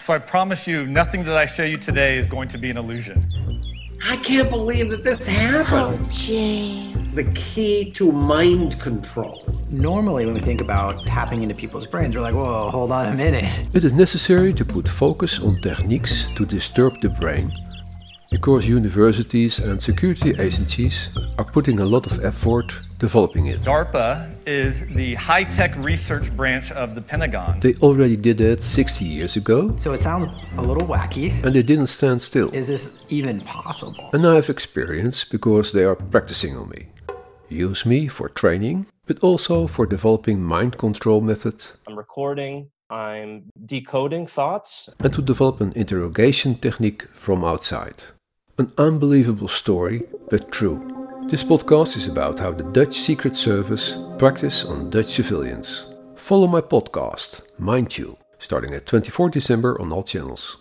So I promise you, nothing that I show you today is going to be an illusion. I can't believe that this happened. James. The key to mind control. Normally, when we think about tapping into people's brains, we're like, whoa, hold on a minute. It is necessary to put focus on techniques to disturb the brain because universities and security agencies are putting a lot of effort developing it. DARPA is the high tech research branch of the Pentagon. They already did it 60 years ago So it sounds a little wacky. and they didn't stand still. Is this even possible? And I have experience because they are practicing on me. Use me for training, but also for developing mind control method I'm recording, I'm decoding thoughts. and to develop an interrogation technique from outside. An unbelievable story, but true. This podcast is about how the Dutch Secret Service practice on Dutch civilians. Follow my podcast, Mind You, starting at 24 December on all channels.